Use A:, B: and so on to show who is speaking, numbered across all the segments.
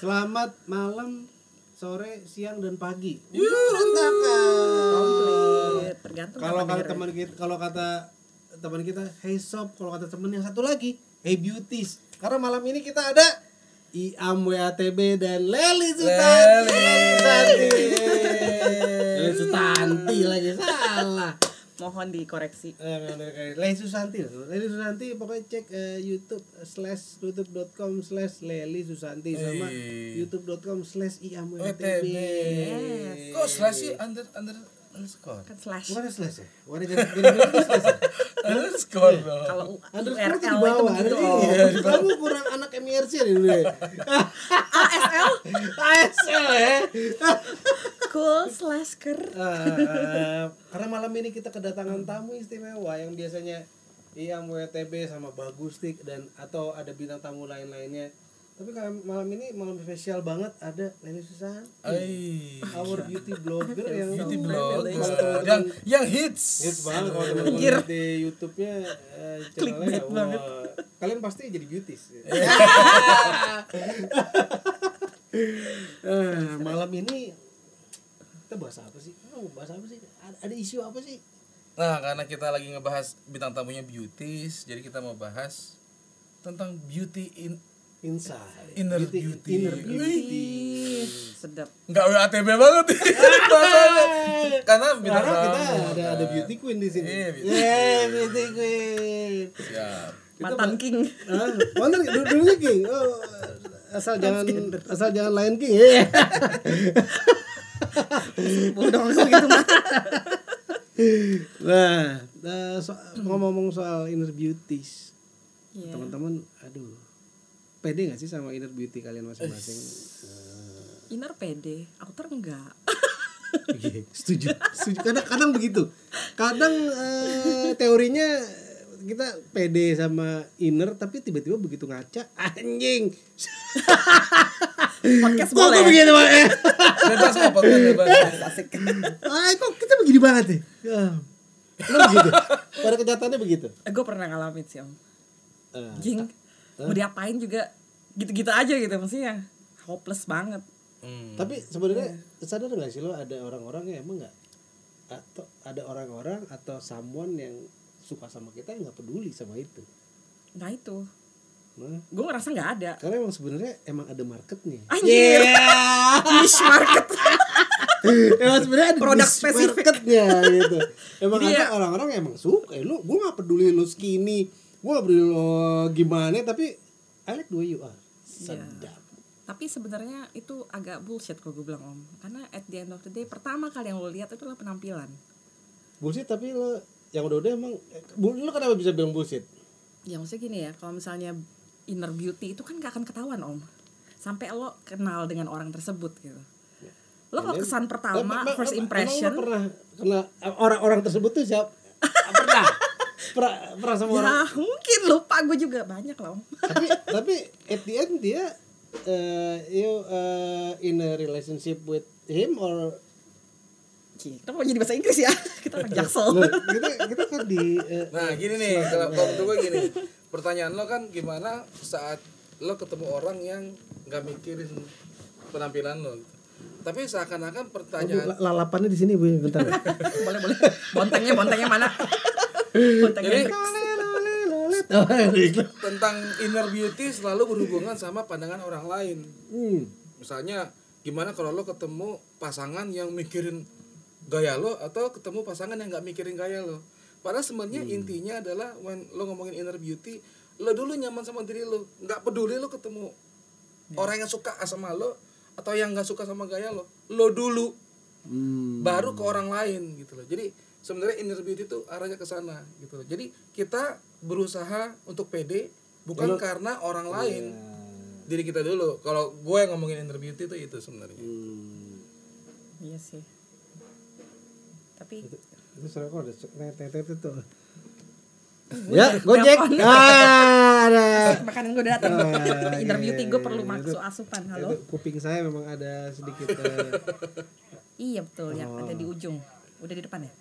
A: selamat malam, sore, siang dan pagi.
B: Yuh, berantakan.
C: komplit tergantung
A: Kalau
C: kapan
A: kata teman kita, kalau kata teman kita, hey sob, kalau kata teman yang satu lagi, hey beauties. Karena malam ini kita ada Iam WATB dan Leli Sutanti. Leli Sutanti lagi salah.
C: dengerin. mohon
A: Eh,
C: dikoreksi
A: nggak ada kayak- Leli Susanti loh. Leli Susanti pokoknya cek eh, YouTube eh, slash youtube.com slash Leli Susanti sama
B: Eh.
A: youtube.com slash Iam
B: WTB.
A: WATB.
B: Kok slash sih under under underscore?
C: kan slash
A: Bukan slash ya? Bukan jadi- jadi- jadi slash ya?
B: Underscore dong.
C: kalau U-
A: Underscore itu di
C: URL itu gitu.
A: bawah.
C: begitu
A: Iya,
C: Om.
A: di bawah. Kamu kurang anak MIRC nih dulu ya.
C: ASL
A: ASL ya.
C: cool slash ker
A: Eh, karena malam ini kita kedatangan tamu istimewa yang biasanya iya, Iam WTB sama Bagustik dan atau ada bintang tamu lain-lainnya. Tapi kalau malam ini malam spesial banget ada Leni Susan,
B: Ai.
A: our beauty blogger Iya. yang
B: Oh, iya. Beauty
A: Kalau
B: blog
A: teman-teman-
B: gitu, yang yang hits.
A: Hits banget kalau teman-teman lihat di YouTube-nya eh, channelnya wah, Kalian pasti jadi beauties. Eh, malam ini kita bahas apa sih? Oh, bahas apa sih? Ada, ada isu apa sih?
B: Nah, karena kita lagi ngebahas bintang tamunya beauties, jadi kita mau bahas tentang beauty in
A: Inside.
B: Inner beauty.
A: Inner beauty.
C: sedap
B: nggak WATB banget bahasanya. Karena bintang
A: Karena kita
B: tamu.
A: ada ada beauty queen di sini.
B: Iya, beauty
A: Yeay, beauty queen.
B: Siap.
C: mantan king
A: Ah, mana dulu dulunya king? Oh, asal jangan asal jangan lain king. Iya.
C: bodoh kalau gitu mah
A: Nah, eh, so- ngomong-ngomong soal inner beauties,
C: Iya.
A: teman-teman, aduh, pede gak sih sama inner beauty kalian masing-masing?
C: Eh, inner pede outer enggak
A: Iya, setuju, setuju. Kadang, kadang begitu. Kadang eh, teorinya kita pede sama inner, tapi tiba-tiba begitu ngaca, anjing.
C: podcast
A: Kok gue
C: boleh
A: begini banget?
B: Bebas kok podcast bebas.
A: Ah, kok kita begini banget ya? Ah. Lo begitu. Pada kenyataannya begitu.
C: gue Eh, pernah ngalamin sih om
A: Ah.
C: jing mau diapain juga gitu-gitu aja gitu maksudnya hopeless banget
B: Hmm.
A: Tapi sebenarnya sadar nggak sih lo ada orang-orang yang emang nggak atau ada orang-orang atau someone yang suka sama kita yang nggak peduli sama itu.
C: nah itu
A: Nah,
C: gue ngerasa nggak ada
A: karena emang sebenarnya emang ada marketnya. Iya.
C: anjir niche market
A: emang sebenarnya ada
C: Produk
A: niche
C: spesifik.
A: marketnya gitu. Emang
C: Jadi
A: ada
C: ya-
A: orang-orang yang emang suka. Eh, lu, gue nggak peduli lu skinny, gue nggak peduli lo gimana, tapi I like the way
C: Ya.
A: you are. Sedap.
C: tapi sebenarnya itu agak bullshit kalau gue bilang om karena at the end of the day pertama kali yang lo lihat itulah penampilan
A: Bullshit tapi lo yang udah-udah emang eh, bu- lo kenapa bisa bilang bullshit?
C: ya maksudnya gini ya kalau misalnya inner beauty itu kan gak akan ketahuan om sampai lo kenal dengan orang tersebut gitu lo
A: Ya,
C: kalau kesan pertama
A: Em- em-
C: first
A: em-
C: impression
A: emang lu pernah kenal orang-orang tersebut tuh siapa pernah pernah pernah sama orang
C: ya mungkin lupa gue juga banyak lah om
A: tapi tapi at the end dia eh, you eh, in a relationship with him or
C: kita mau jadi bahasa Inggris ya kita orang jaksel
A: Loh, kita kita kan di eh,
B: Nah gini nih, kalau kalau menurut gue gini, pertanyaan lo kan gimana saat lo ketemu orang yang nggak mikirin penampilan lo, gitu. tapi
A: aduh,
B: seakan-akan pertanyaan
A: la- lalapannya di sini bu ya, bentar
C: boleh boleh bontengnya bontengnya mana bontengnya
B: Jadi-
C: Hendrix.
A: Oh, iklan.
B: tentang inner beauty selalu berhubungan sama pandangan orang lain.
A: hmm.
B: Misalnya gimana kalau lo ketemu pasangan yang mikirin gaya lo atau ketemu pasangan yang nggak mikirin gaya lo. Padahal sebenarnya intinya adalah when lo ngomongin inner beauty, lo dulu nyaman sama diri lo, nggak peduli lo ketemu orang yang suka sama lo atau yang nggak suka sama gaya lo, lo dulu
A: Hmm.
B: baru ke orang lain gitu loh. Jadi sebenarnya inner beauty itu arahnya ke sana gitu loh. Jadi kita berusaha untuk pede bukan karena orang lain. Diri kita dulu. Kalau gue yang ngomongin inner beauty itu itu sebenarnya.
A: Hmm.
C: iya sih tapi
A: itu suara kok ada tetet itu ya gojek ah ada
C: makanan gue datang
A: Ah,
C: inner
A: iya,
C: beauty
A: iya,
C: gue
A: iya,
C: perlu
A: iya.
C: masuk asupan
A: Itu
C: halo
A: kuping saya memang ada sedikit eh,
C: iya betul yang ada di ujung udah di depan ya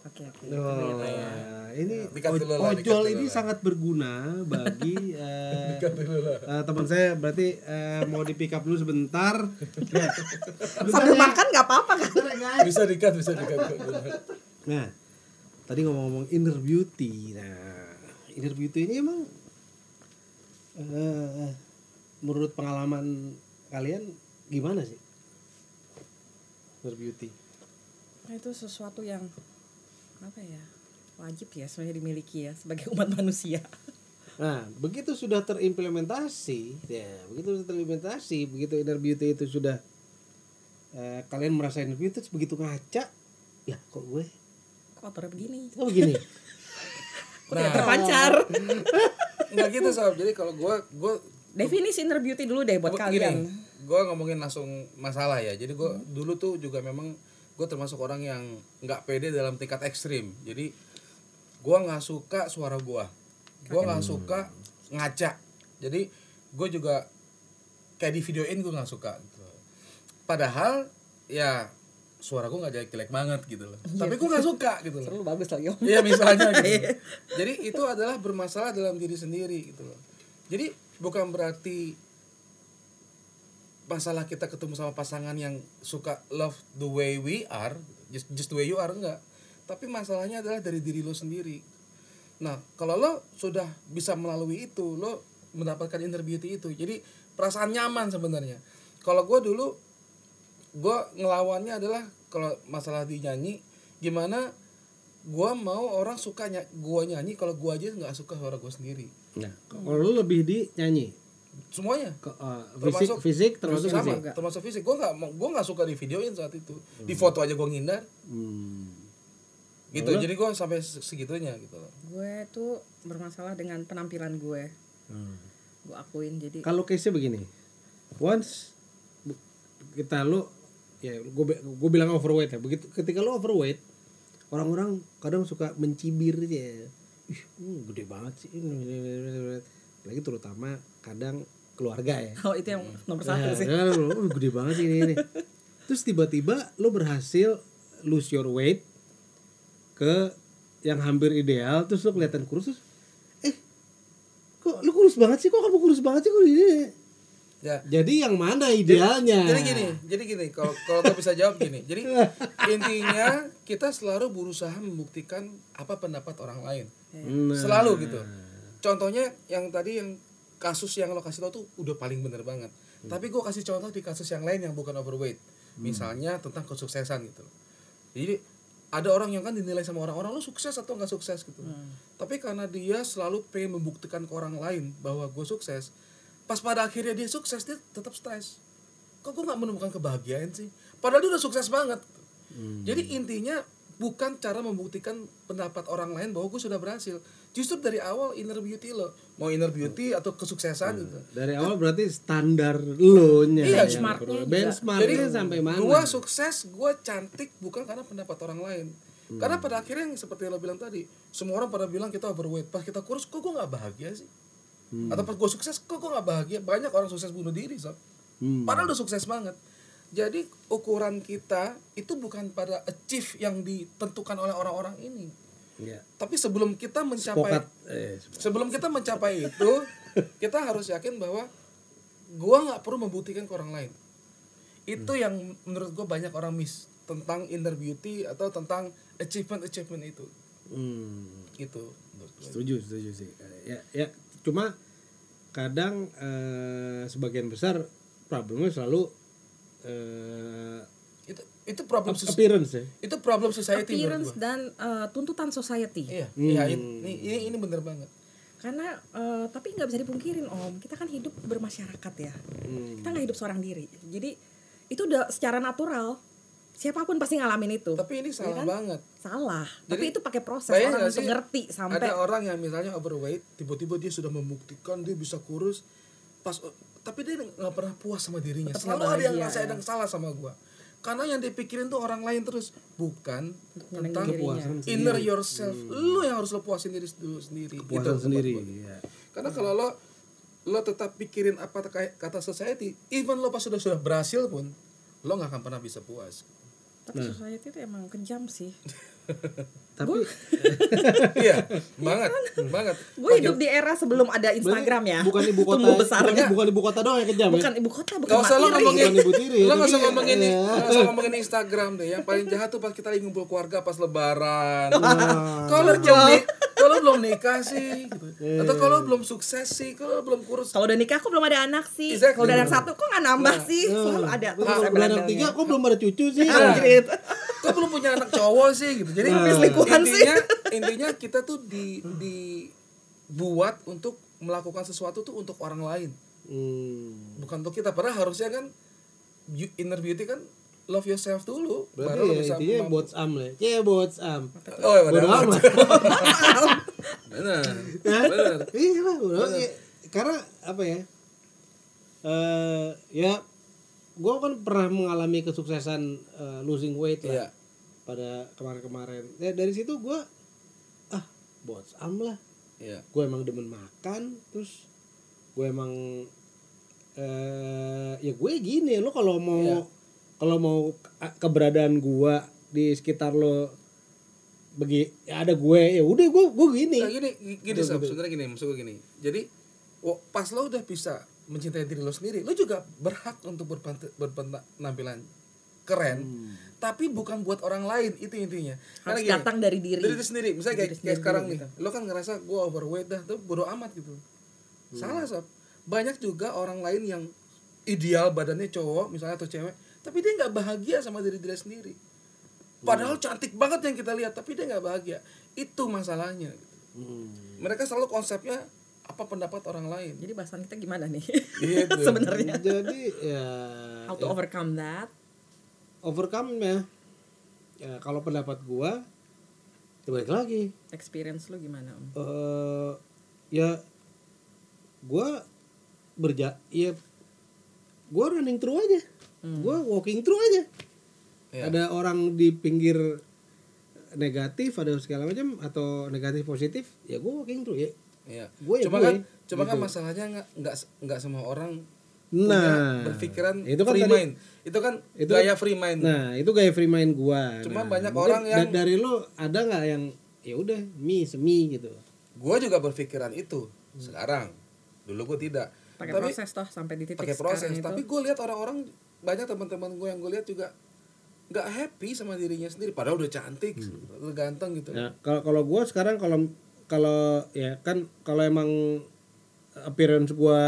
C: Oke oke.
A: Oh,
B: nah, ya.
A: ini
B: Dikat dulu lah, dikat
A: ojol
B: dulu
A: ini
B: lah.
A: sangat berguna bagi eh,
B: Dekat dulu lah.
A: eh, teman saya berarti eh, mau di pick up dulu sebentar.
C: Sambil makan nggak apa-apa kan?
A: Bentar ya, guys.
B: Bisa dikat, bisa dikat.
A: Nah, tadi ngomong-ngomong inner beauty. Nah, inner beauty ini emang eh, menurut pengalaman kalian gimana sih? Inner beauty.
C: Nah, itu sesuatu yang apa ya wajib ya sebenarnya dimiliki ya sebagai umat manusia.
A: Nah, begitu sudah terimplementasi, ya, begitu sudah terimplementasi, begitu inner beauty itu sudah eh, kalian merasa inner beauty terus begitu ngaca, ya kok gue
C: Kotornya begini.
A: kok begini?
C: Kok
B: Nah,
C: tidak terpancar.
B: Enggak gitu sob. Jadi kalau gua gua
C: Definisi inner beauty dulu deh buat
B: gini,
C: kalian. Hmm.
B: gua ngomongin langsung masalah ya. Jadi gua dulu tuh juga memang gua termasuk orang yang nggak pede dalam tingkat ekstrim. Jadi gua nggak suka suara gua. Gua nggak suka ngaca. Jadi gua juga kayak di videoin gua nggak suka. gitu. Padahal ya suara gua nggak jelek-jelek banget gitu loh.
C: Iya.
B: Tapi gua nggak suka gitu loh.
C: Terlalu bagus lagi om.
B: Iya misalnya gitu. Jadi itu adalah bermasalah dalam diri sendiri gitu loh. Jadi bukan berarti masalah kita ketemu sama pasangan yang suka love the way we are, just, just the way you are enggak. Tapi masalahnya adalah dari diri lo sendiri. Nah, kalau lo sudah bisa melalui itu, lo mendapatkan inner beauty itu. Jadi perasaan nyaman sebenarnya. Kalau gue dulu gue ngelawannya adalah kalau masalah dinyanyi gimana gue mau orang suka ny- gue nyanyi kalau gue aja nggak suka suara gue sendiri
A: Nah, kalau lu lebih di nyanyi,
B: semuanya
A: ke, eh, fisik, fisik termasuk
B: sama
A: fisik.
B: termasuk fisik gue nggak mau gue nggak suka di videoin saat itu di foto aja gue ngindar
A: Hmm.
B: gitu jadi gue sampai se- segitunya gitu loh
C: Gue tuh bermasalah dengan penampilan gue. Gue akuin
A: Hmm.
C: jadi
B: Kan-
A: Kalau case begini, once bu- kita lu ya gue gue bilang overweight ya begitu ketika lu overweight orang-orang kadang suka mencibir aja ih lu gede banget sih lagi terutama kadang keluarga ya
C: Oh itu yang nomor satu
A: Nah,
B: Iya.
C: sih.
A: kan, lu, "Oh, gede banget sih ini, ini." Terus tiba-tiba lu berhasil lose your weight ke yang hampir ideal, terus lu kelihatan kurus, terus, eh kok lu kurus banget sih, kok kamu kurus banget sih, kok ini?
B: ya
A: Jadi yang mana idealnya?
B: jadi gini jadi gini kalau kalau gue bisa jawab gini jadi intinya kita selalu berusaha membuktikan apa pendapat orang lain
A: Nah,
B: selalu gitu contohnya yang tadi yang kasus yang lo kasih tau tuh udah paling bener banget tapi gue kasih contoh di kasus yang lain yang bukan overweight misalnya tentang kesuksesan gitu loh. jadi ada orang yang kan dinilai sama orang-orang lo sukses atau nggak sukses gitu tapi karena dia selalu pengen membuktikan ke orang lain bahwa gue sukses pas pada akhirnya dia sukses dia tetap stres kok gue nggak menemukan kebahagiaan sih padahal dia udah sukses banget jadi intinya bukan cara membuktikan pendapat orang lain bahwa gue sudah berhasil justru dari awal inner beauty lo mau inner beauty atau kesuksesan gitu
A: dari awal berarti standar lo nya
B: Iya,
C: benchmarknya juga.
A: benchmarknya sampai mana?
B: Gua sukses, gua cantik bukan karena pendapat orang lain. Karena pada akhirnya yang seperti lo bilang tadi, semua orang pada bilang kita overweight. Pas kita kurus, kok gua nggak bahagia sih? Atau pas gua sukses, kok gua nggak bahagia? Banyak orang sukses bunuh diri, sob.
A: Hmm.
B: Padahal udah sukses banget. Jadi ukuran kita itu bukan pada achieve yang ditentukan oleh orang-orang ini.
A: Iya.
B: Tapi sebelum kita mencapai
A: Pokat, eh,
B: sebelum kita mencapai itu kita harus yakin bahwa gua nggak perlu membuktikan ke orang lain itu yang menurut gua banyak orang miss tentang inner beauty atau tentang achievement achievement itu
A: hmm.
B: gitu menurut gua.
A: setuju setuju sih ya ya cuma kadang eh, sebagian besar problemnya selalu eh,
B: itu itu problem sus-
A: appearance ya
B: itu problem society
C: Appearance
B: menurut gua
C: dan eh, tuntutan society.
B: iya iya ini ini ini bener banget
C: Karena eh, tapi nggak bisa dipungkirin om, kita kan hidup bermasyarakat ya.
B: Hmm.
C: Kita nggak hidup seorang diri. Jadi itu udah secara natural siapapun pasti ngalamin itu.
B: tapi ini salah
C: kan?
B: banget
C: Salah. tapi
B: Jadi,
C: itu pakai proses
B: Bayang
C: orang
B: nggak
C: untuk
B: sih,
C: ngerti sampai
B: ada orang yang misalnya overweight tiba-tiba dia sudah membuktikan dia bisa kurus pas tapi dia nggak pernah puas sama dirinya
C: Tetap
B: selalu
C: nggak
B: ada yang
C: bahagia, ya.
B: ngerasa ada yang salah sama gua karena yang dipikirin tuh orang lain terus bukan
C: nyenengin
B: tentang
C: dirinya.
A: Kepuasan
B: inner yourself lu yang harus lo puasin diri dulu sendiri
A: puasa
B: Gitu.
A: sendiri ya.
B: karena kalau lo lo tetap pikirin apa kayak kata society even lo pas sudah sudah berhasil pun lo nggak akan pernah bisa puas
A: Hmm.
C: tapi society itu emang kejam sih.
A: Tapi
B: iya banget banget
C: Gue hidup di era sebelum ada Instagram ya.
A: bukan ibu kota,
C: Tumbuh besar.
A: bukan, bukan ibu kota doang yang kejam
C: Bukan
A: ya.
C: ibu kota, bukan
B: Gak usah lo
C: Mak Iri.
B: ngomongin
A: Bukan ibu tiri,
B: Lo gak usah
A: tapi-
B: ngomongin
A: Iya.
B: Gak usah ngomongin Instagram deh Yang paling jahat tuh pas kita lagi ngumpul keluarga Pas lebaran
A: Iya. Ah,
C: Ah,
B: Kalau belum ni- kalau belum nikah sih gitu.
A: Iya.
B: Atau kalau belum sukses sih Kalau belum kurus
C: Kalau udah nikah kok belum ada anak sih.
B: Exactly. Nah.
C: Kalau udah anak satu kok nggak nambah
A: Nah,
C: sih. Selalu ada. Nah, gitu.
A: Lu Kalau udah anak tiga, kok belum ada cucu sih?
C: Anjrit.
B: Kok belum punya anak cowok sih gitu
A: Iya.
B: Jadi
C: selingkuhan sih.
B: intinya, intinya kita tuh di, dibuat untuk melakukan sesuatu tuh untuk orang lain
A: Hmm.
B: Bukan untuk kita Padahal harusnya kan you- Inner beauty kan Love yourself dulu
A: Berarti
B: baru lo
A: ya
B: bisa
A: intinya
B: mem-
A: bots am lah. Ya bots am.
B: Oh, ya,
A: Bodo
B: benar.
A: amat.
B: Benar. Benar.
A: Hah? Iya lah, bodo amat. Ya, Karena apa ya? Eh ya gue kan pernah mengalami kesuksesan eh, losing weight lah
B: Iya.
A: pada kemarin-kemarin. Ya dari situ gue ah bots am lah.
B: Iya.
A: gue emang demen makan terus gue emang eh ya gue gini lo kalau mau
B: Iya.
A: kalau mau ke- keberadaan gue di sekitar lo begi ya ada gue ya udah gue gue gini
B: Nah, gini, gini Sob, sebenarnya gini, maksud gue gini. Jadi wo- pas lo udah bisa mencintai diri lo sendiri, lo juga berhak untuk berpant- berpenampilan keren. Tapi bukan buat orang lain, itu intinya.
C: Hmm. Harus datang dari diri.
B: Dari diri sendiri. Misalnya kayak, kayak sekarang
A: gitu.
B: nih, lo kan ngerasa gue overweight dah, tapi bodo amat gitu.
A: Hmm.
B: Salah sob. Banyak juga orang lain yang ideal badannya cowok misalnya atau cewek, tapi dia nggak bahagia sama diri dia sendiri.
A: Hmm.
B: Padahal cantik banget yang kita lihat, tapi dia nggak bahagia. Itu masalahnya. gitu.
A: Hmm.
B: Mereka selalu konsepnya apa pendapat orang lain.
C: Jadi bahasan kita gimana nih?
B: Gitu.
C: Sebenarnya.
A: jadi ya
C: How
B: Iya.
C: to overcome that?
A: overcome ya kalau pendapat gue ya balik lagi
C: Experience lu gimana om?
A: eh ya gue berja ya gue running through aja gue walking through aja
B: Hmm. Iya.
A: ada orang di pinggir negatif ada segala macam atau negatif positif ya gue walking through ya
B: Iya.
A: Gue ya gue,
B: cuma kan, cuma kan masalahnya nggak nggak se- nggak semua orang punya
A: nah
B: berpikiran
A: itu kan
B: free
A: tadi-
B: mind. Itu kan
A: itu-
B: gaya free mind.
A: nah itu gaya free mind gue
B: Hmm. Cuma
A: nah,
B: banyak
A: mungkin
B: orang
A: da-
B: yang-
A: dari lo ada nggak yang ya udah mi semi gitu
B: Gue juga berpikiran itu sekarang. Dulu gue tidak.
C: Pakai
B: Tapi-
C: proses toh sampai di titik
B: pakai
C: sekarang
B: proses
C: itu.
B: tapi gue lihat orang-orang banyak teman-teman gue yang gue lihat juga nggak happy sama dirinya sendiri padahal udah cantik udah ganteng gitu
A: Nah, kalau kalau gue sekarang kalau kalau ya kan kalau emang appearance gue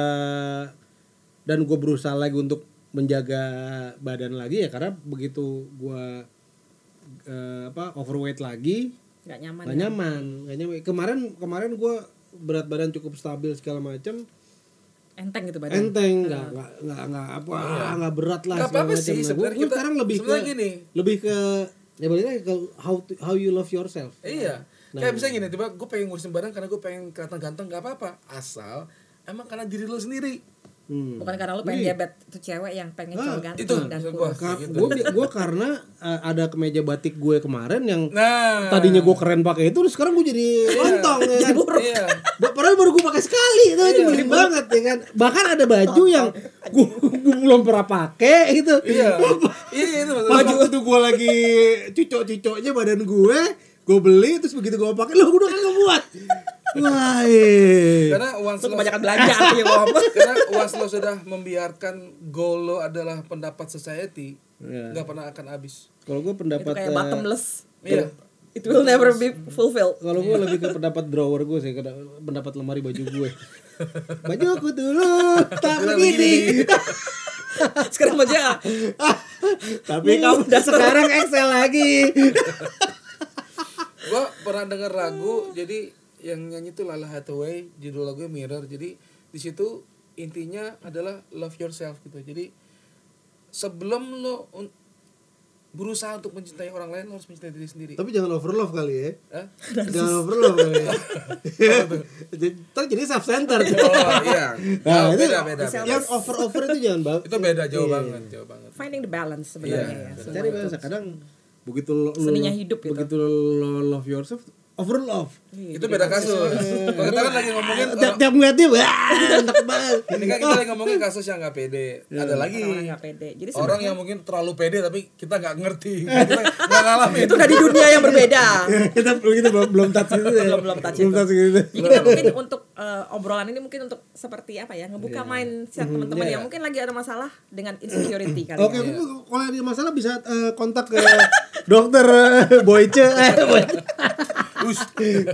A: dan gue berusaha lagi untuk menjaga badan lagi ya karena begitu gue apa overweight lagi
C: Gak nyaman.
A: nggak nyaman nggak nyaman kemarin kemarin gue berat badan cukup stabil segala macam
C: Enteng gitu badan.
A: enteng nggak nggak nggak nggak apa ah, nggak berat lah
B: Iya. Nggak
A: segala
B: apa-apa sih,
A: macam. Nah, gua-
B: sebenarnya
A: gua
B: kita-
A: sekarang lebih ke
B: sebenarnya gini.
A: lebih ke ya balik lagi ke how to- how you love yourself
B: iya kayak misalnya gini tiba gue pengen ngurusin badan karena gue pengen kelihatan ganteng nggak apa-apa asal emang karena diri lo sendiri
A: Hmm.
C: Bukan karena lu pengen diabet tuh cewek yang pengen cowok ganteng
B: itu
C: dan
B: maksud
C: kurus.
B: gue
A: Ka- gue bi- gue karena uh, ada kemeja batik gue kemarin yang
B: nah
A: tadinya gue keren pakai itu terus sekarang gue jadi lontong ya kan
B: iya
A: Ba- padahal baru gue pakai sekali itu aja beli banget ya kan bahkan ada baju yang gue belum pernah pakai gitu
B: iya iya itu maksud
A: baju itu gue lagi cucok-cucoknya badan gue gue beli terus begitu gue pakai lo gue udah kagak muat wah eh.
B: karena once
C: Lu
B: lo
C: kebanyakan belanja artinya Om.
B: Ya, karena once lo sudah membiarkan goal lo adalah pendapat society
A: Iya.
B: nggak pernah akan habis
A: kalau gue
C: Itu
A: pendapat
C: kayak
A: eh,
C: bottomless.
B: iya
C: It will never be fulfilled.
A: Kalau gue lebih ke pendapat drawer gue sih, ke pendapat lemari baju gue. baju aku dulu tak begini.
C: Sekarang aja
A: Tapi kamu udah sekarang Excel lagi.
B: gua pernah denger lagu jadi yang nyanyi itu Lala Hathaway judul lagunya Mirror jadi di situ intinya adalah love yourself gitu jadi sebelum lo un- berusaha untuk mencintai orang lain lo harus mencintai diri sendiri
A: Tapi jangan overlove kali ya.
B: Hah?
A: Jangan overlove kali ya. Jadi- Ntar jadi self center.
B: oh iya
A: Nah, itu Iya.
B: Jauh, beda beda beda.
A: yang over over itu jangan banget.
B: itu beda jauh banget jauh banget
C: finding the
B: Iya.
C: balance
A: Iya,
C: sebenarnya ya.
A: Cari bahasa kadang begitu lo, lo-
C: Seninya
A: lo-
C: hidup gitu.
A: begitu lo, lo love yourself over love
B: itu beda kasus kalau kita kan lagi ngomongin
A: tiap tiap ngeliat dia wah enak banget
B: ini kan kita lagi ngomongin kasus yang nggak pede ada lagi
C: orang nggak pede jadi
B: orang yang mungkin terlalu pede tapi kita nggak ngerti kita nggak ngalamin Oh,
C: itu udah di dunia yang berbeda
A: Iya, kita belum kita belum belum touch gitu ya
C: Belum- belum touch
A: belum
C: itu. Iya,
A: touch gitu
C: jadi kita mungkin untuk eh, obrolan ini mungkin untuk seperti apa ya ngebuka mindset teman-teman
B: iya.
C: yang mungkin lagi ada masalah dengan insecurity kali
A: Oke,
C: ya
A: aku kalau ada masalah bisa eh, kontak ke dokter eh, Boyce eh Boy-
B: Us.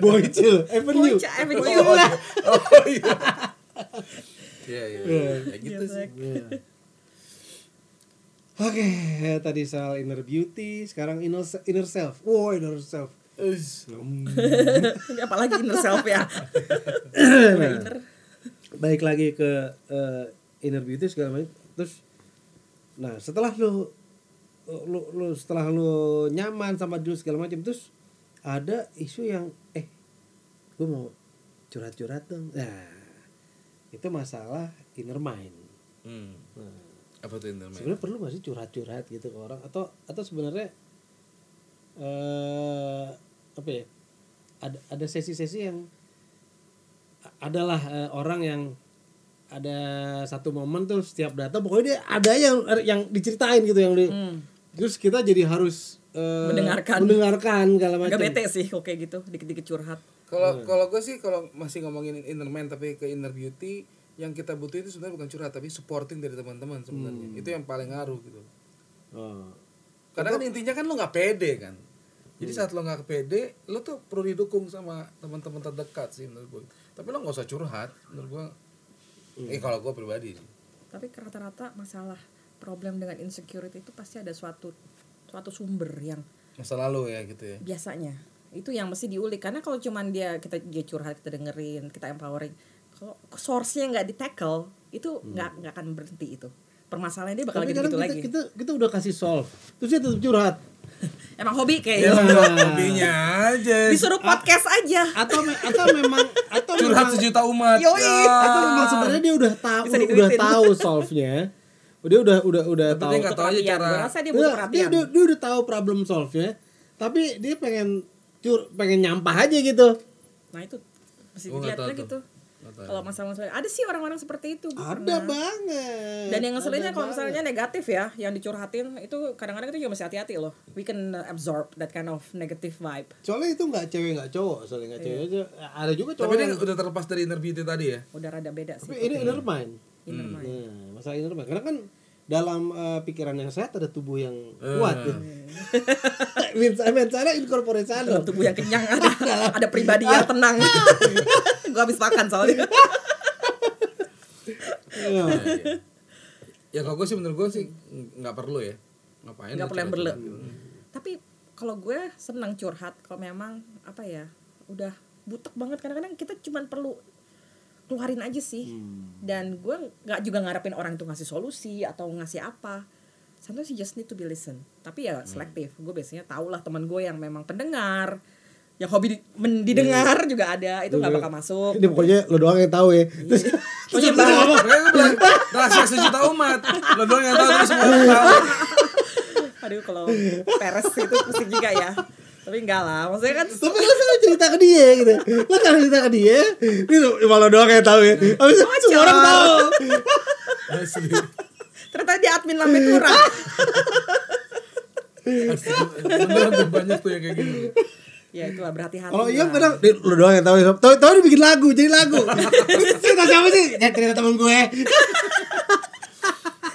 A: Boyce Avenue.
C: Puncak avenue.
B: oh iya Iya, iya, iya. Ya gitu sih.
A: Iya. Oke, eh, tadi soal inner beauty, sekarang inner se- inner self. Wow, inner self.
B: Us.
C: Ini apalagi inner self ya
A: Nah,
C: inner
A: Baik lagi ke eh, inner beauty segala macam. Terus nah, setelah lu lu, lu setelah lu nyaman sama diri lu segala macam terus ada isu yang eh gue mau curhat-curhat dong. Nah, itu masalah inner mind.
B: Hmm. Apa tuh yang namanya?
A: sebenarnya perlu gak sih curhat-curhat gitu ke orang atau atau sebenarnya eh apa ya ada ada sesi-sesi yang a- adalah eh, orang yang ada satu momen tuh setiap datang pokoknya dia ada yang yang diceritain gitu yang di-
C: Hmm.
A: terus kita jadi harus eh,
C: Mendengarkan.
A: mendengarkan segala
C: Agak
A: macam
C: bete sih kok kayak gitu dikit-dikit curhat
B: Kalau kalau gue sih kalau masih ngomongin inner man tapi ke inner beauty yang kita butuh itu sebenarnya bukan curhat tapi supporting dari teman-teman sebenarnya. Itu yang paling ngaruh gitu.
A: Oh.
B: Karena kan intinya kan lo nggak pede kan. Jadi saat lo nggak pede, lo tuh perlu didukung sama teman-teman terdekat sih menurut gue. Tapi lo nggak usah curhat, menurut gue. Eh kalau gue pribadi sih.
C: tapi rata-rata masalah problem dengan insecurity itu pasti ada suatu suatu sumber yang
B: masa lalu ya gitu ya.
C: biasanya itu yang mesti diulik karena kalau cuman dia kita dia curhat kita dengerin kita empowering kalau source-nya nggak di tackle itu
B: Hmm.
C: nggak nggak akan berhenti itu permasalahan dia
A: tapi
C: bakal gitu
A: kadang
C: gitu
A: kita,
C: lagi
A: kita kita udah kasih solve terus dia tetap curhat
C: emang hobi
B: Ya
C: kayak
B: udah hobinya aja.
C: disuruh podcast aja
A: atau me- atau memang atau
B: Curhat
A: memang-
B: sejuta umat.
C: Yoi.
A: atau
B: Ya.
A: memang sebenarnya dia udah tahu
C: Bisa
A: udah,
C: diduitin.
A: udah tahu solve nya dia udah udah udah
B: Tapi
A: tahu
B: dia nggak tahu aja
C: perhatian
B: cara.
C: gue rasa dia
A: Nggak,
C: butuh
A: dia,
C: perhatian
A: Iya, dia, dia udah tahu problem solve nya tapi dia pengen cur pengen nyampah aja gitu
C: nah itu mesti
B: Gua nggak
C: dilihatnya
B: tahu tuh.
C: gitu
B: Nggak tahu.
C: kalau masalah-masalah ada sih orang-orang seperti itu gua
A: ada
C: pernah.
A: banget
C: Dan yang ngeselinnya
A: Ada
C: kalau
A: banget.
C: misalnya negatif ya, yang dicurhatin itu kadang-kadang kita juga mesti hati-hati loh. We can absorb that kind of negative vibe.
A: soalnya itu nggak cewek nggak cowok soalnya nggak
C: Iya.
A: cewek aja Ya, ada juga cowok
B: Tapi dia
A: yang-
B: udah terlepas dari inner beauty tadi ya.
C: Udah rada beda
A: tapi
C: sih.
A: ini inner mind
C: Iya. Inner mind.
A: nah masalah inner mind karena kan dalam eh, pikiran yang sehat ada tubuh yang
C: Eh.
A: kuat ya. Mensana incorpore sano.
C: Dalam tubuh yang kenyang ada, ada pribadi yang tenang. Gua habis makan soalnya.
A: Iya.
B: Ya kalau gue sih menurut gue sih nggak perlu ya. Ngapain?
C: Nggak
B: lo
C: perlu yang
B: curhat-curhat
C: berle-
B: gitu.
C: Tapi kalau gue senang curhat kalau memang apa ya, udah butek banget kadang-kadang kita cuman perlu keluarin aja sih. Dan gue nggak juga ngarepin orang itu ngasih solusi atau ngasih apa. Sometimes you just need to be listen. Tapi ya selektif. Gue biasanya tau lah teman gue yang memang pendengar, yang hobi di- mendidengar juga ada. Itu nggak bakal masuk.
A: Ini pokoknya lo doang yang tahu ya. Terus
C: Oh, iya, bener.
B: Nah, Makanya gue bilang, Rahasia sejuta umat. Lo doang yang tahu terus semua orang tahu.
C: Aduh kalau peres itu pusing juga ya. Tapi enggak lah. Maksudnya kan
A: tapi lo sama cerita ke dia gitu. Lo kan cerita ke dia, gitu. Malah lo doang yang tahu ya. Habis itu semua orang tahu.
B: Asli.
C: ternyata dia admin lambe turah.
B: Asli. Beneran tuh banyak tuh yang kayak gitu. gini.
C: ya itulah berhati-hati.
A: Kalau
C: lah.
A: iya kadang "Dit, lo doang yang tahu. ya." Tahu tahu dia bikin lagu, jadi lagu. Terus cerita siapa sih? Ya cerita temen gue.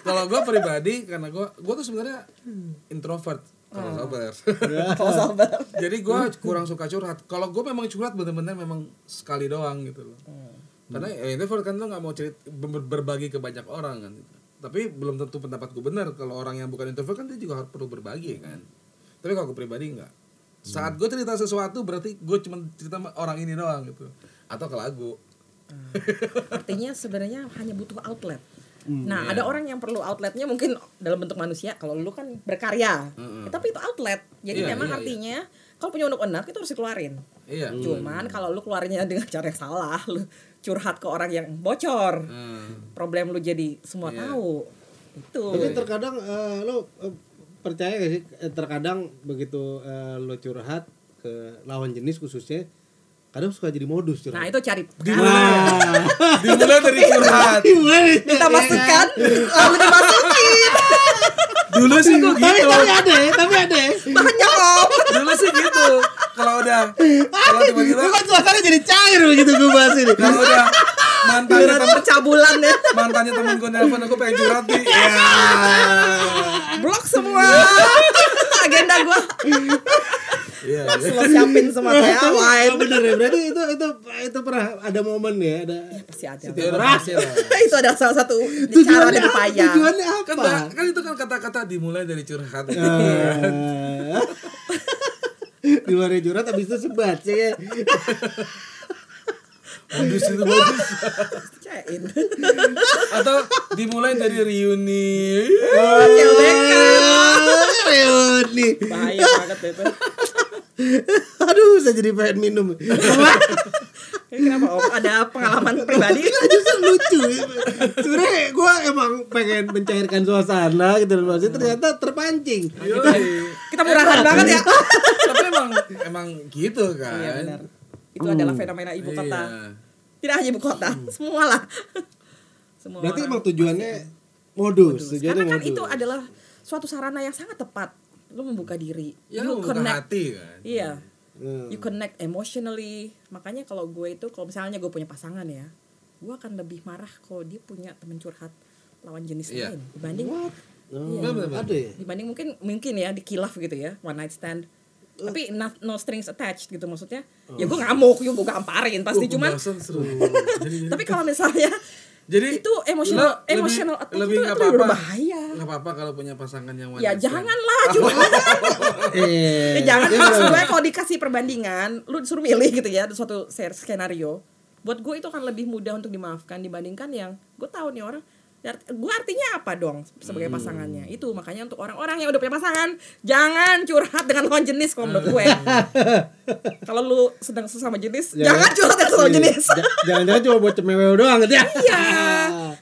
B: Kalau gue pribadi karena gue gue tuh sebenarnya introvert kalau sabar.
C: Kalau sabar.
B: Jadi gue kurang suka curhat. Kalau gue memang curhat bener-bener memang sekali doang gitu loh. Karena ya, introvert kan lo nggak mau cerit ber- berbagi ke banyak orang kan. Tapi belum tentu pendapat gue benar. Kalau orang yang bukan introvert kan dia juga harus perlu berbagi kan. Tapi kalau gue pribadi nggak. Saat gue cerita sesuatu berarti gue cuma cerita sama orang ini doang gitu. Atau ke lagu.
C: Artinya sebenarnya hanya butuh outlet. Nah, ada orang yang perlu outletnya mungkin dalam bentuk manusia. Kalau lu kan berkarya, Ya,
B: Mm-mm.
C: tapi itu outlet. Jadi
B: Iya,
C: memang
B: iya,
C: artinya kalau punya unek-unek itu harus dikeluarin.
B: Iya.
C: Cuman kalau lu keluarnya dengan cara yang salah, lu curhat ke orang yang bocor,
B: Hmm.
C: problem lu jadi semua tahu. Itu.
A: Tapi terkadang eh, lo eh, percaya gak sih? Eh, Terkadang begitu eh, lo curhat ke lawan jenis khususnya kadang suka jadi modus curhat.
C: Nah itu cari
A: Nah,
C: dimana
B: dimulai dari curhat
A: gimana?
C: Minta masukkan Lalu dimasukin
B: dulu sih gua
A: Tapi
B: gitu
A: tapi ada ya, tapi ada ya.
C: Banyak
B: dulu sih gitu kalau udah kalau tiba-tiba Nah,
A: Bukan suasana kan jadi cair begitu gue bahas ini.
B: kalau udah mantannya
C: Berarti
B: temen
C: percabulan ya
B: mantannya temen gue nelfon aku pengen curhat nih
C: Iya.
B: ya
C: Blok semua Agenda gue
B: Iya, iya.
C: Langsung lo siapin semua "Ah, teh
A: Wah,
C: awal
A: bener ya. Berarti itu itu itu pernah ada momen ya, ada
C: Pasti ada
B: Itu udah pasti Gitu ya, lah.
C: Itu ada salah satu cara
A: tujuannya
C: dan
A: apa?
C: upaya
A: Tujuannya
B: kan
A: apa?
B: ba- kan itu kan kata-kata dimulai dari curhat
C: Iya.
A: Eh. di luar curhat habis itu sebat sih ya.
B: modus itu modus
C: Cain
B: atau dimulai dari reuni
C: Iya. CLBK kan.
A: Ah, reuni
C: Bahaya banget itu
A: aduh saya jadi pengen minum
C: Ini Kenapa om? Ada pengalaman pribadi?
A: justru lucu sebenernya gue emang pengen mencairkan suasana gitu dan maksudnya ternyata terpancing
B: Yoi.
C: Kita murahan
A: Iya.
C: banget ya
B: tapi emang emang gitu kan
C: Iya benar Itu adalah fenomena ibu kota
B: Iya.
C: Tidak hanya ibu kota Semualah Semua
A: Hmm. berarti
C: orang.
A: emang tujuannya modus tujuannya
C: Karena kan
A: modus
C: itu adalah suatu sarana yang sangat tepat. Lu membuka diri. you
B: ya lu buka
C: connect.
B: hati kan
C: Iya.
A: Hmm.
C: You connect emotionally. Makanya kalau gue itu kalau misalnya gue punya pasangan ya, gue akan lebih marah kalau dia punya temen curhat lawan jenis
B: Iya.
C: lain dibanding
A: Oh,
C: Iya.
A: ada ya
C: dibanding mungkin mungkin ya di kilaf gitu ya one night stand tapi not- no strings attached gitu maksudnya ya gue ngamuk ya gue gamparin pasti
B: Uh,
C: cuman
B: pembahasan seru jadi,
C: tapi kalau misalnya
B: jadi
C: itu emotional
B: lo lebih-
C: emotional attachment
B: lebih
C: itu
B: nggak
C: terlalu
B: apa-apa
C: berbahaya.
B: nggak apa-apa kalau punya pasangan yang wanita
C: ya janganlah cuma
A: eh
C: Ya jangan
A: iya.
C: maksud gue kalau dikasih perbandingan, lu disuruh milih gitu ya suatu ser- skenario. Buat gue itu akan lebih mudah untuk dimaafkan dibandingkan yang gue tahu nih orang ya art- gue artinya apa dong sebagai
A: Hmm.
C: pasangannya itu makanya untuk orang-orang yang udah punya pasangan jangan curhat dengan lawan jenis kalau menurut gue kalau lu sedang sesama jenis
A: Jangan.
C: jangan curhat dengan
A: Iya.
C: sesama jenis
A: Ja- Jangan-jangan cuma buat cemewew doang gitu ya.
C: Iya.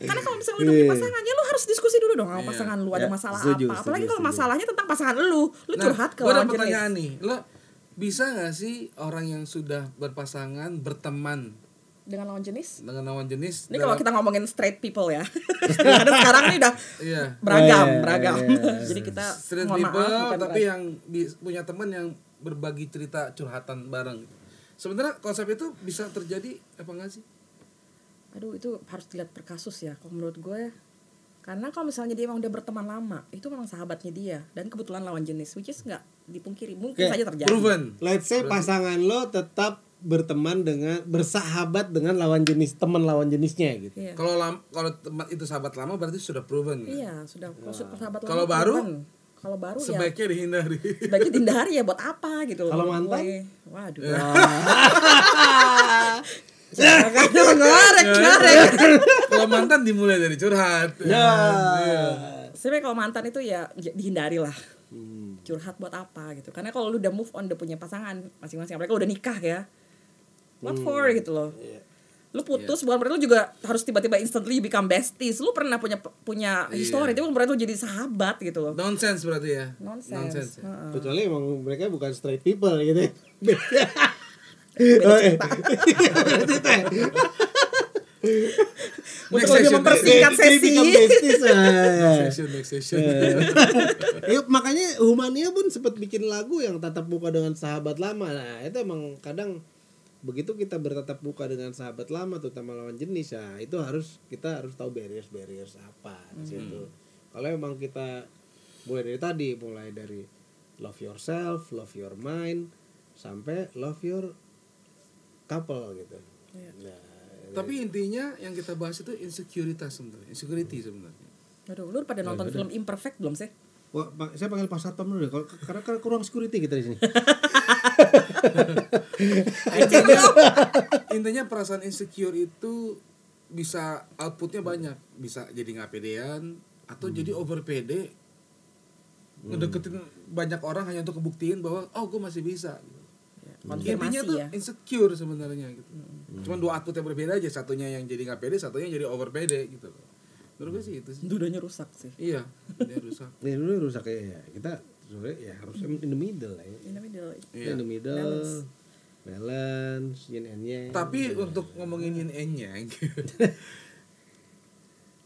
C: Karena kalau misalnya lu udah punya
A: Iya.
C: pasangan, ya lu harus diskusi dulu dong sama
B: Iya.
C: pasangan lu ada
A: Ya,
C: masalah
A: setuju,
C: apa. Apalagi
A: setuju,
C: kalau
A: setuju. Nah,
C: masalahnya tentang pasangan lu, lu curhat ke
B: Nah, gua ada
C: lawan jenis.
B: pertanyaan nih lo bisa gak sih orang yang sudah berpasangan berteman
C: Dengan lawan jenis?
B: dengan lawan jenis
C: Ini kalau
B: dalam-
C: kita ngomongin straight people ya. Karena sekarang ini udah
B: iya
C: beragam,
A: Iya, iya,
C: beragam.
A: iya.
C: Jadi kita
B: straight
C: mohon
B: people
C: maaf, bukan
B: tapi
C: beragam.
B: yang bi- punya teman yang berbagi cerita curhatan bareng sebenarnya konsep itu bisa terjadi apa enggak sih
C: aduh itu harus dilihat per kasus ya kalau menurut gue. Karena kalau misalnya dia emang udah berteman lama, itu memang sahabatnya dia dan kebetulan lawan jenis which is nggak dipungkiri mungkin
A: Oke,
C: saja terjadi.
B: proven
A: Let's say pasangan lo tetap berteman dengan bersahabat dengan lawan jenis teman lawan jenisnya gitu.
C: Iya.
B: kalau lam- kalau teman itu sahabat lama berarti sudah proven kan?
C: Iya, sudah maksud sahabat lama
B: Kalau baru?
C: proven. kalau baru ya
B: sebaiknya dihindari
C: sebaiknya dihindari ya buat apa gitu loh
A: Kalau
C: menurut
A: mantan?
C: gue. waduh jangan jangan narik, narik.
B: kalau mantan dimulai dari curhat
A: Ya.
C: sebenarnya kalau mantan itu ya j- dihindari lah
B: Hmm.
C: curhat buat apa gitu karena kalau lu udah move on udah punya pasangan masing-masing apalagi kalau udah nikah ya what
B: Hmm.
C: for gitu loh
B: Iya.
C: lu putus bukan berarti lu juga harus tiba-tiba instantly become besties lu pernah punya punya
B: Iya.
C: history itu bukan berarti lu jadi sahabat gitu loh
B: nonsense berarti ya
C: nonsense,
B: Nonsense ya?
C: Heeh.
A: Kecuali emang mereka bukan straight people gitu. ya.
C: Beda
A: Oh, eh.
C: cerita. Untuk
B: Next
C: lebih
B: session,
C: mempersingkat
A: Jadi
C: sesi.
A: become besties, eh.
B: next session next session
C: Eh.
A: Ya, makanya Humania pun sempat bikin lagu yang tatap muka dengan sahabat lama. Nah, itu emang kadang begitu kita bertatap muka dengan sahabat lama terutama lawan jenis ya, itu harus kita harus tahu barriers barriers apa di situ. Kalau emang kita mulai dari tadi, mulai dari love yourself, love your mind sampai love your couple gitu. Nah,
B: tapi intinya yang kita bahas itu insekuritas sebenarnya insecurity sebenarnya
C: Aduh, lu pada
B: Oh,
C: nonton film Imperfect belum sih?
A: wah, Pak, saya panggil Pak Satpam dulu deh, kalau- karena karena kurang security kita di sini.
B: intinya, intinya perasaan insecure itu bisa outputnya banyak bisa jadi nggak pedean atau jadi
C: Hmm.
B: over pede ngedeketin banyak orang hanya untuk kebuktiin bahwa oh gue masih bisa Iya.
C: Konfirmasi
B: intinya tuh
C: ya.
B: insecure sebenarnya gitu cuman dua output yang berbeda aja satunya yang jadi nggak pede satunya yang jadi over pede gitu loh menurut gue sih itu sih
C: Dudanya rusak sih.
B: iya dia rusak
A: Nih dulu rusak ya. Kita sebenarnya ya harusnya in the middle lah ya.
C: In the middle.
B: Iya.
A: In the middle,
C: Balance.
A: balance, yin and yang.
C: Iya,
B: Tapi untuk ngomongin yin and yang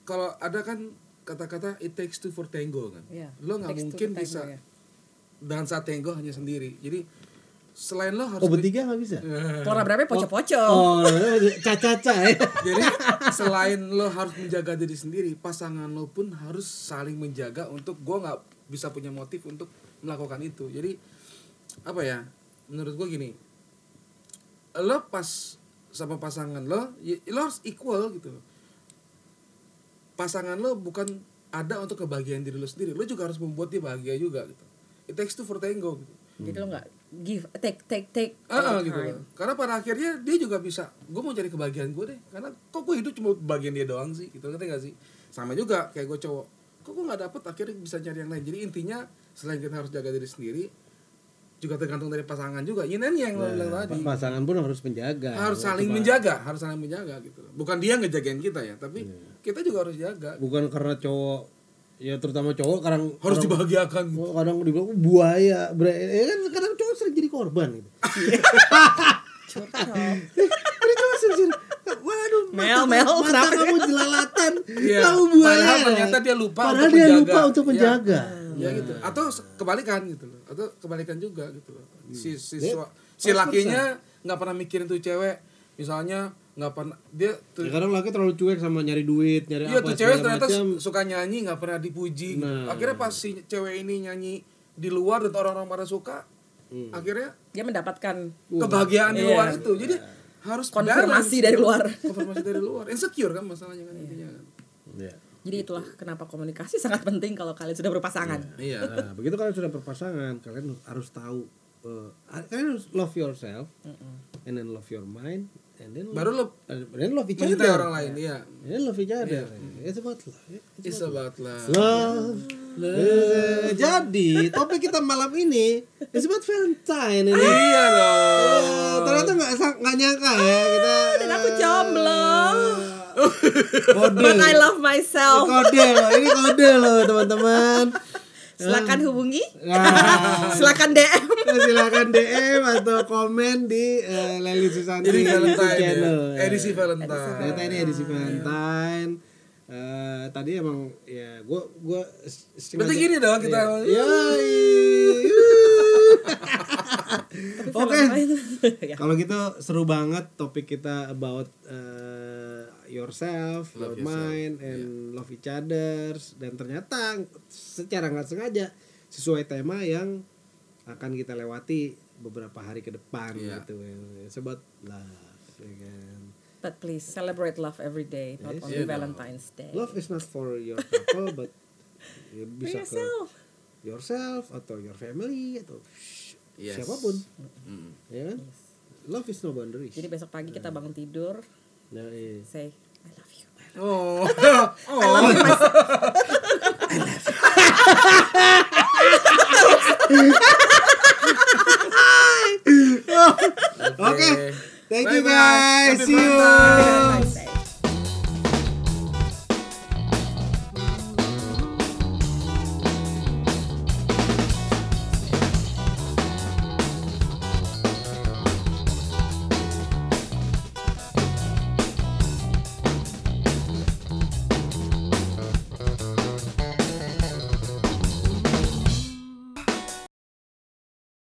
B: Kalau ada kan kata-kata it takes two for tango kan.
C: Iya.
B: Lo nggak
C: Takes two
B: mungkin
C: to tango,
B: bisa
C: ya.
B: dansa tango hanya sendiri. Jadi selain lo harus Iya.
A: oh bertiga nggak bisa.
C: Keluar berapa poco-poco.
A: Oh, caca-caca ya.
B: Jadi selain lo harus menjaga diri sendiri, pasangan lo pun harus saling menjaga untuk gua nggak bisa punya motif untuk melakukan itu. Jadi apa ya? Menurut gua gini, lo pas sama pasangan lo, ya, lo harus equal gitu. Pasangan lo bukan ada untuk kebahagiaan diri lo sendiri, lo juga harus membuat dia bahagia juga gitu. It takes two for tango gitu.
C: Jadi lo nggak give take take take. all
B: Ah,
C: the
B: gitu
C: time.
B: loh. Karena pada akhirnya dia juga bisa, gue mau cari kebahagiaan gue deh. Karena kok gue hidup cuma bagian dia doang sih, gitu ngerti gak sih? Sama juga kayak gue cowok, kok gue nggak dapet akhirnya bisa cari yang lain. Jadi intinya selain kita harus jaga diri sendiri, juga tergantung dari pasangan juga. Yin and yang lo bilang tadi.
A: Pasangan pun harus menjaga.
B: Harus saling menjaga, harus saling menjaga gitu. loh. Bukan dia ngejagain kita ya, tapi kita juga harus jaga.
A: Bukan karena cowok, ya terutama cowok kadang
B: Harus
A: kadang,
B: dibahagiakan gitu.
A: kadang dibilang "Oh, buaya, Bre." ya kan kadang cowok sering jadi korban gitu.
C: Curcol.
A: Eh, Ini cowok sering jadi- Waduh,
C: Mel,
A: mata,
C: Mel,
A: mata
C: kenapa?
A: kamu jelalatan,
B: Iya,
A: kamu buaya.
B: padahal ternyata dia lupa
A: Padahal
B: untuk
A: dia
B: menjaga.
A: lupa untuk
B: Iya.
A: menjaga.
B: ya gitu atau se- kebalikan gitu loh atau kebalikan juga gitu loh
A: Hmm.
B: si si sua- si lakinya nggak pernah mikirin tuh cewek misalnya nggak pernah dia
A: Ya,
B: tuh
A: kadang laki terlalu cuek sama nyari duit, nyari
B: dia
A: apa
B: Iya, tuh cewek
A: segala
B: ternyata
A: macam.
B: su- suka nyanyi nggak pernah dipuji gitu.
A: Nah.
B: akhirnya pas si cewek ini nyanyi di luar dan orang-orang pada suka
A: Hmm.
B: akhirnya
C: Dia mendapatkan
B: kebahagiaan
A: Iya.
B: di luar itu jadi harus
C: konfirmasi
B: balance.
C: dari luar.
B: konfirmasi dari luar insecure kan masalahnya kan intinya kan
A: Iya.
C: Jadi itulah kenapa komunikasi sangat penting kalau kalian sudah berpasangan.
B: iya
A: Nah, begitu kalian sudah berpasangan, kalian harus tahu eh, kalian harus love yourself and then love your mind and then
B: baru lo
A: and then love each
B: mencintai
A: other.
B: orang lain iya
A: And then love each other. It's about love.
C: Iya.
B: it's about love
A: Love. Eh, jadi topik kita malam ini is about Valentine ini.
B: iya dong
A: Eh, ternyata nggak sang- nggak nyangka ya kita.
B: Ah,
C: Dan aku jomblo.
A: Kode.
C: But I love myself.
A: Kode loh, ini kode loh teman-teman.
C: Silakan hubungi.
A: Nah,
C: Silakan DM.
A: Nah, silakan DM atau komen di eh, Leli Susanti
B: Ini
A: YouTube
B: Valentine ya.
A: channel.
B: Edisi
A: Ternyata
B: Valentine.
A: ini edisi Valentine. Eh, tadi emang ya gue gue
B: Berarti gini dong kita.
A: Iya. Oke.
C: Ya.
A: Kalau gitu seru banget topik kita about uh, yourself,
B: Love
A: your
B: Iya.
A: mind, and love each others. Dan ternyata secara nggak sengaja sesuai tema yang akan kita lewati beberapa hari ke depan
B: Iya.
A: gitu. Sebut love, ya kan.
C: But please celebrate love every day, not only
B: you know.
C: Valentine's Day.
A: Iya Love is not for your couple, but you
C: For
A: bisa ke
C: yourself.
A: yourself atau your family atau sh-
B: Yes.
A: siapapun, ya kan? Love is no boundaries.
C: Jadi besok pagi kita
A: Iya.
C: bangun tidur,
A: Nah, iya.
C: say I love you.
B: Oh.
C: I love you myself.
A: Okay. Thank you
B: Bye-bye.
A: guys.
B: Happy
A: See you